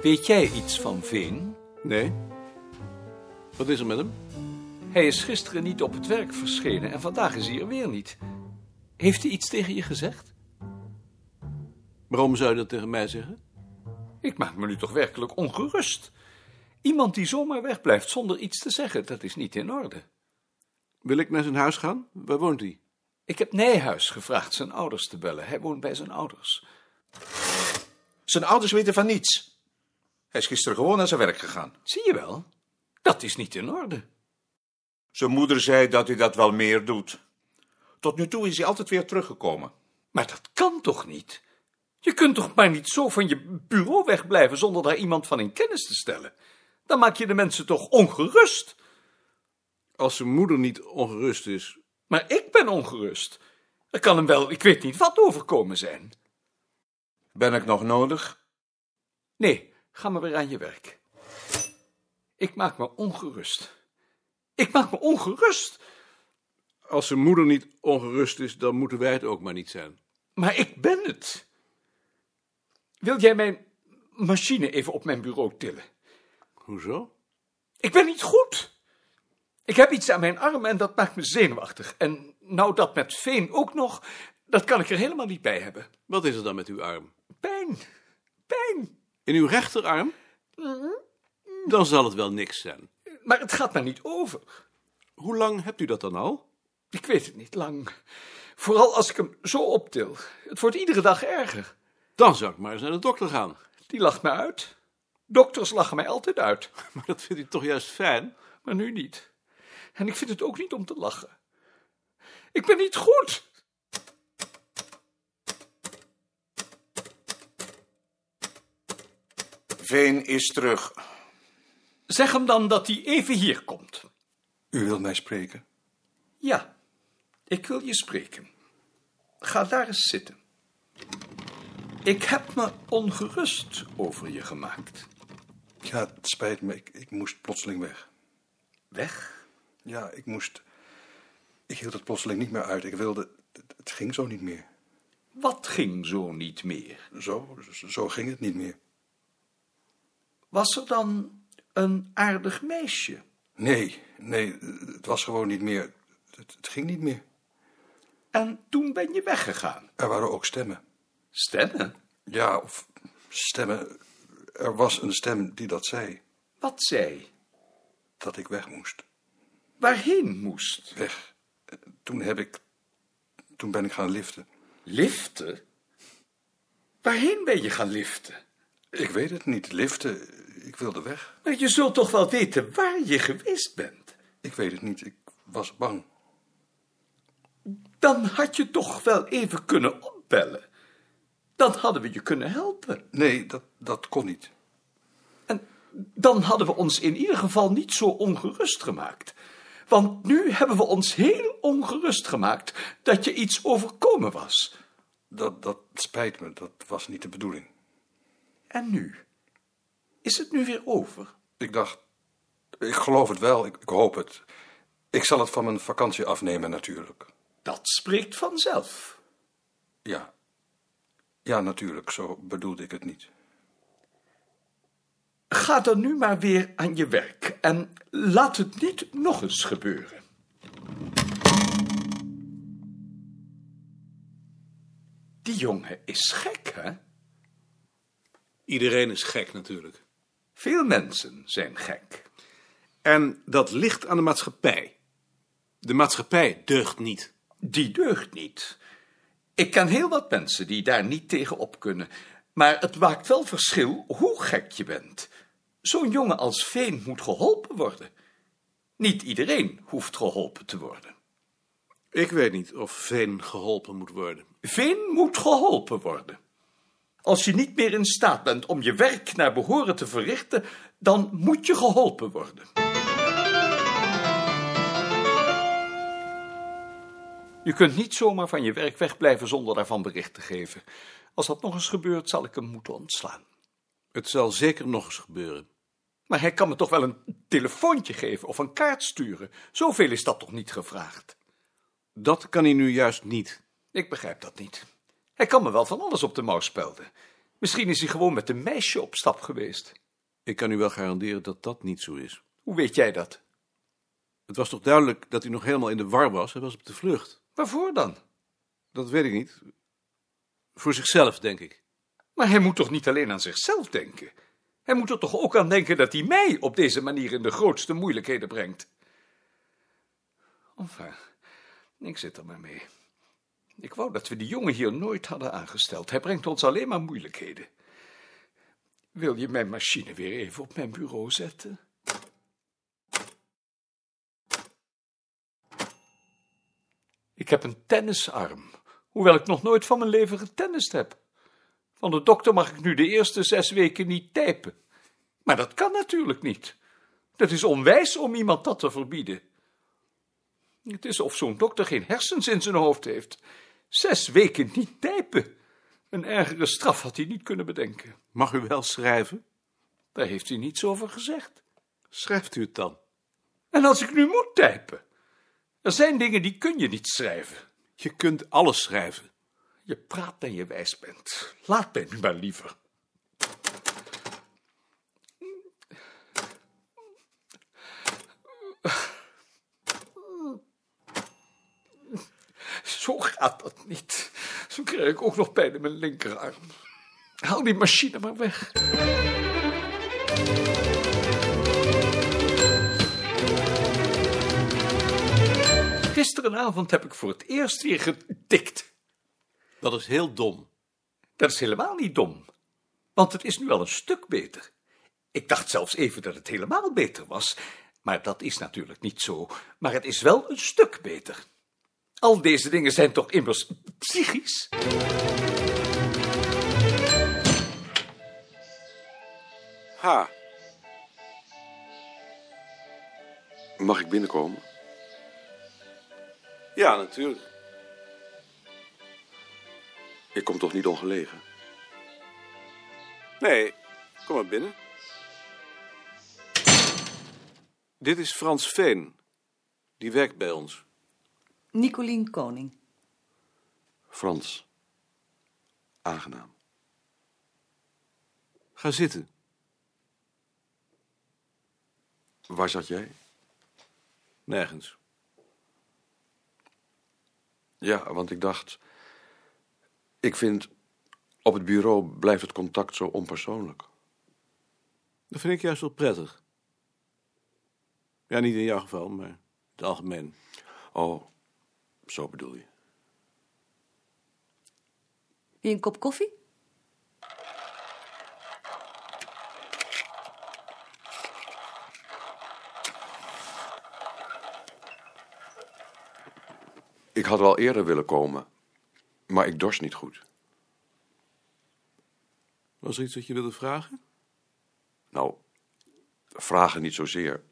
Weet jij iets van Veen? Nee. Wat is er met hem? Hij is gisteren niet op het werk verschenen en vandaag is hij er weer niet. Heeft hij iets tegen je gezegd? Waarom zou je dat tegen mij zeggen? Ik maak me nu toch werkelijk ongerust. Iemand die zomaar wegblijft zonder iets te zeggen, dat is niet in orde. Wil ik naar zijn huis gaan? Waar woont hij? Ik heb Nijhuis gevraagd zijn ouders te bellen. Hij woont bij zijn ouders. Zijn ouders weten van niets. Hij is gisteren gewoon naar zijn werk gegaan. Zie je wel? Dat is niet in orde. Zijn moeder zei dat hij dat wel meer doet. Tot nu toe is hij altijd weer teruggekomen. Maar dat kan toch niet? Je kunt toch maar niet zo van je bureau wegblijven zonder daar iemand van in kennis te stellen? Dan maak je de mensen toch ongerust? Als zijn moeder niet ongerust is. Maar ik ben ongerust. Er kan hem wel, ik weet niet wat, overkomen zijn. Ben ik nog nodig? Nee, ga maar weer aan je werk. Ik maak me ongerust. Ik maak me ongerust, Als zijn moeder niet ongerust is, dan moeten wij het ook maar niet zijn. maar ik ben het. Wil jij mijn machine even op mijn bureau tillen? Hoezo? Ik ben niet goed. Ik heb iets aan mijn arm en dat maakt me zenuwachtig. En nou dat met veen ook nog, dat kan ik er helemaal niet bij hebben. Wat is er dan met uw arm? Pijn. Pijn. In uw rechterarm? Dan zal het wel niks zijn. Maar het gaat maar niet over. Hoe lang hebt u dat dan al? Ik weet het niet lang. Vooral als ik hem zo optil. Het wordt iedere dag erger. Dan zou ik maar eens naar de dokter gaan. Die lacht mij uit. Dokters lachen mij altijd uit. Maar dat vindt u toch juist fijn? Maar nu niet. En ik vind het ook niet om te lachen. Ik ben niet goed. Veen is terug. Zeg hem dan dat hij even hier komt. U wilt mij spreken? Ja, ik wil je spreken. Ga daar eens zitten. Ik heb me ongerust over je gemaakt. Ja, het spijt me. Ik, ik moest plotseling weg. Weg? Ja, ik moest... Ik hield het plotseling niet meer uit. Ik wilde... Het, het ging zo niet meer. Wat ging zo niet meer? Zo, zo ging het niet meer. Was er dan een aardig meisje? Nee, nee, het was gewoon niet meer... Het, het ging niet meer. En toen ben je weggegaan. Er waren ook stemmen. Stemmen? Ja, of stemmen... Er was een stem die dat zei. Wat zij? Dat ik weg moest. Waarheen moest? Weg. Toen heb ik... Toen ben ik gaan liften. Liften? Waarheen ben je gaan liften? Ik weet het niet. Liften. Ik wilde weg. Maar Nou, je zult toch wel weten waar je geweest bent? Ik weet het niet. Ik was bang. Dan had je toch wel even kunnen opbellen. Dan hadden we je kunnen helpen. Nee, dat, dat kon niet. En dan hadden we ons in ieder geval niet zo ongerust gemaakt. Want nu hebben we ons heel ongerust gemaakt dat je iets overkomen was. Dat, dat spijt me, dat was niet de bedoeling. En nu? Is het nu weer over? Ik dacht, ik geloof het wel, ik, ik hoop het. Ik zal het van mijn vakantie afnemen natuurlijk. Dat spreekt vanzelf. Ja. Ja, natuurlijk, zo bedoelde ik het niet. Ga dan nu maar weer aan je werk en laat het niet nog eens gebeuren. Die jongen is gek, hè? Iedereen is gek natuurlijk. Veel mensen zijn gek. En dat ligt aan de maatschappij. De maatschappij deugt niet. Die deugt niet. Ik ken heel wat mensen die daar niet tegen op kunnen. Maar het maakt wel verschil hoe gek je bent. Zo'n jongen als Veen moet geholpen worden. Niet iedereen hoeft geholpen te worden. Ik weet niet of Veen geholpen moet worden. Veen moet geholpen worden. Als je niet meer in staat bent om je werk naar behoren te verrichten, dan moet je geholpen worden. Je kunt niet zomaar van je werk wegblijven zonder daarvan bericht te geven. Als dat nog eens gebeurt, zal ik hem moeten ontslaan. Het zal zeker nog eens gebeuren. Maar hij kan me toch wel een telefoontje geven of een kaart sturen. Zoveel is dat toch niet gevraagd? Dat kan hij nu juist niet. Ik begrijp dat niet. Hij kan me wel van alles op de mouw spelden. Misschien is hij gewoon met een meisje op stap geweest. Ik kan u wel garanderen dat dat niet zo is. Hoe weet jij dat? Het was toch duidelijk dat hij nog helemaal in de war was? Hij was op de vlucht. Waarvoor dan? Dat weet ik niet. Voor zichzelf, denk ik. Maar hij moet toch niet alleen aan zichzelf denken? Hij moet er toch ook aan denken dat hij mij op deze manier in de grootste moeilijkheden brengt? Enfin, ik zit er maar mee. Ik wou dat we die jongen hier nooit hadden aangesteld. Hij brengt ons alleen maar moeilijkheden. Wil je mijn machine weer even op mijn bureau zetten? Ik heb een tennisarm, hoewel ik nog nooit van mijn leven getennist heb. Van de dokter mag ik nu de eerste zes weken niet typen. Maar dat kan natuurlijk niet. Dat is onwijs om iemand dat te verbieden. Het is of zo'n dokter geen hersens in zijn hoofd heeft. Zes weken niet typen. Een ergere straf had hij niet kunnen bedenken. Mag u wel schrijven? Daar heeft hij niets over gezegd. Schrijft u het dan? En als ik nu moet typen? Er zijn dingen die kun je niet schrijven. Je kunt alles schrijven. Je praat en je wijs bent. Laat mij nu maar liever. Zo gaat dat niet. Zo krijg ik ook nog pijn in mijn linkerarm. Haal die machine maar weg. Gisterenavond heb ik voor het eerst weer getikt. Dat is heel dom. Dat is helemaal niet dom, want het is nu al een stuk beter. Ik dacht zelfs even dat het helemaal beter was, maar dat is natuurlijk niet zo. Maar het is wel een stuk beter. Al deze dingen zijn toch immers psychisch? Ha. Mag ik binnenkomen? Ja, natuurlijk. Ik kom toch niet ongelegen? Nee, kom maar binnen. Dit is Frans Veen. Die werkt bij ons. Nicolien Koning. Frans. Aangenaam. Ga zitten. Waar zat jij? Nergens. Ja, want ik dacht... Ik vind, op het bureau blijft het contact zo onpersoonlijk. Dat vind ik juist wel prettig. Ja, niet in jouw geval, maar in het algemeen. Oh, zo bedoel je. Wil je een kop koffie? Ik had wel eerder willen komen, maar ik dorst niet goed. Was er iets dat je wilde vragen? Nou, vragen niet zozeer.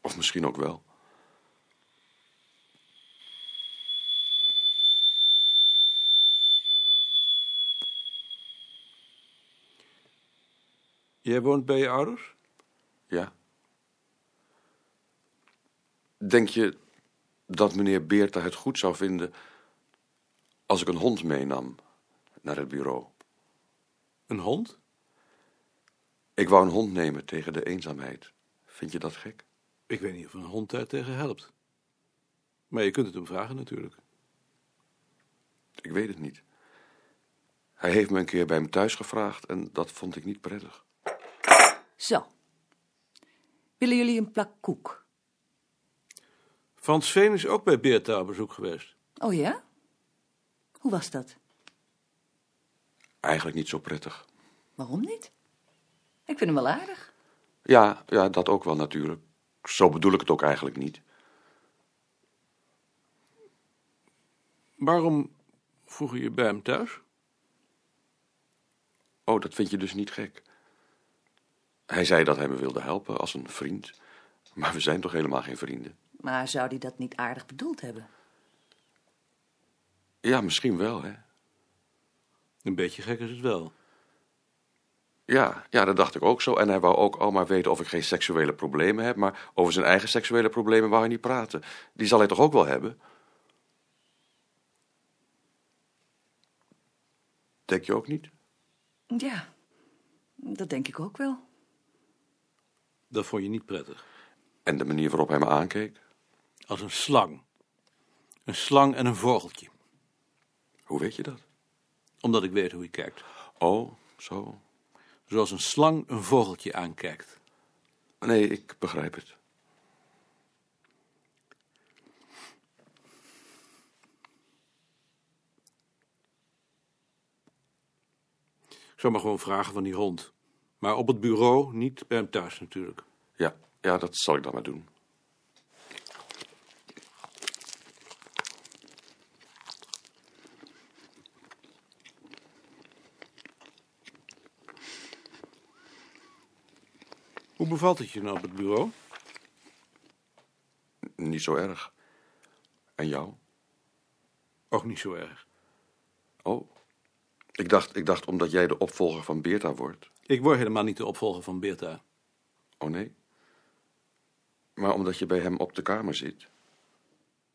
Of misschien ook wel. Jij woont bij je ouders? Ja. Denk je dat meneer Beerta het goed zou vinden als ik een hond meenam naar het bureau? Een hond? Ik wou een hond nemen tegen de eenzaamheid. Vind je dat gek? Ik weet niet of een hond daar tegen helpt. Maar je kunt het hem vragen natuurlijk. Ik weet het niet. Hij heeft me een keer bij hem thuis gevraagd en dat vond ik niet prettig. Zo. Willen jullie een plak koek? Frans Veen is ook bij Beerta op bezoek geweest. Oh ja? Hoe was dat? Eigenlijk niet zo prettig. Waarom niet? Ik vind hem wel aardig. Ja, ja, dat ook wel natuurlijk. Zo bedoel ik het ook eigenlijk niet. Waarom vroeg je bij hem thuis? Oh, dat vind je dus niet gek. Hij zei dat hij me wilde helpen als een vriend. Maar we zijn toch helemaal geen vrienden? Maar zou die dat niet aardig bedoeld hebben? Ja, misschien wel, hè? Een beetje gek is het wel. Ja, ja, dat dacht ik ook zo. En hij wou ook al maar weten of ik geen seksuele problemen heb. Maar over zijn eigen seksuele problemen wou hij niet praten. Die zal hij toch ook wel hebben? Denk je ook niet? Ja, dat denk ik ook wel. Dat vond je niet prettig. En de manier waarop hij me aankeek? Als een slang. Een slang en een vogeltje. Hoe weet je dat? Omdat ik weet hoe je kijkt. Oh, zo. Zoals een slang een vogeltje aankijkt. Nee, ik begrijp het. Ik zou maar gewoon vragen van die hond. Maar op het bureau, niet bij hem thuis natuurlijk. Ja, ja dat zal ik dan maar doen. Hoe bevalt het je nou op het bureau? Niet zo erg. En jou? Ook niet zo erg. Oh. Ik dacht, ik dacht omdat jij de opvolger van Beerta wordt. Ik word helemaal niet de opvolger van Beerta. Oh nee. Maar omdat je bij hem op de kamer zit.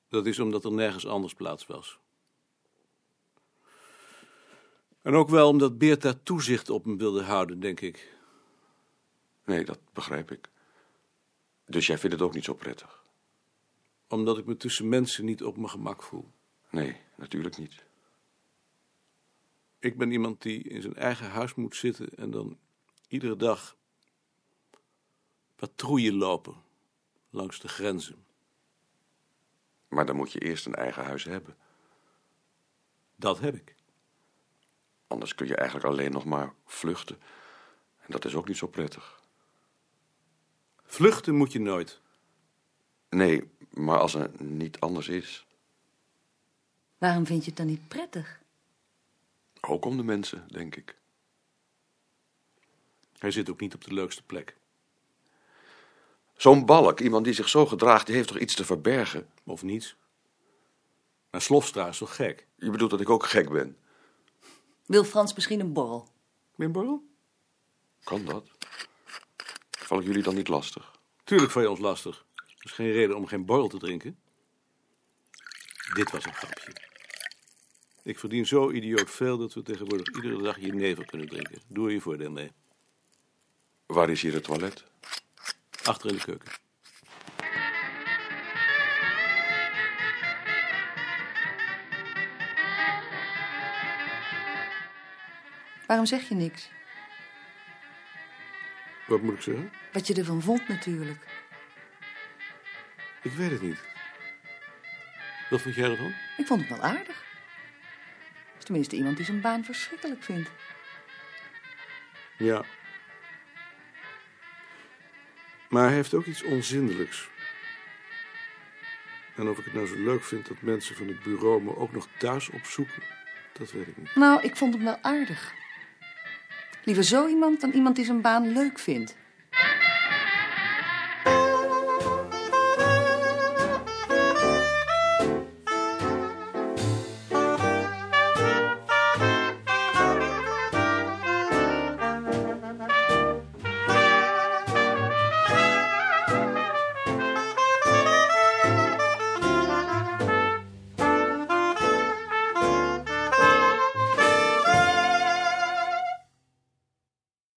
Dat is omdat er nergens anders plaats was. En ook wel omdat Beerta toezicht op hem wilde houden, denk ik. Nee, dat begrijp ik. Dus jij vindt het ook niet zo prettig? Omdat ik me tussen mensen niet op mijn gemak voel. Nee, natuurlijk niet. Ik ben iemand die in zijn eigen huis moet zitten en dan iedere dag patrouille lopen langs de grenzen. Maar dan moet je eerst een eigen huis hebben. Dat heb ik. Anders kun je eigenlijk alleen nog maar vluchten. En dat is ook niet zo prettig. Vluchten moet je nooit. Nee, maar als er niet anders is. Waarom vind je het dan niet prettig? Ook om de mensen, denk ik. Hij zit ook niet op de leukste plek. Zo'n balk, iemand die zich zo gedraagt, die heeft toch iets te verbergen? Of niet. Maar Slofstra is toch gek? Je bedoelt dat ik ook gek ben? Wil Frans misschien een borrel? Wim Borrel? Kan dat? Val ik jullie dan niet lastig? Tuurlijk val je ons lastig. Er is geen reden om geen borrel te drinken. Dit was een grapje. Ik verdien zo idioot veel dat we tegenwoordig iedere dag jenever kunnen drinken. Doe er je voordeel mee. Waar is hier het toilet? Achter in de keuken. Waarom zeg je niks? Wat moet ik zeggen? Wat je ervan vond natuurlijk. Ik weet het niet. Wat vond jij ervan? Ik vond het wel aardig. Is tenminste iemand die zijn baan verschrikkelijk vindt. Ja. Maar hij heeft ook iets onzindelijks. En of ik het nou zo leuk vind dat mensen van het bureau me ook nog thuis opzoeken, dat weet ik niet. Nou, ik vond hem wel aardig. Liever zo iemand dan iemand die zijn baan leuk vindt.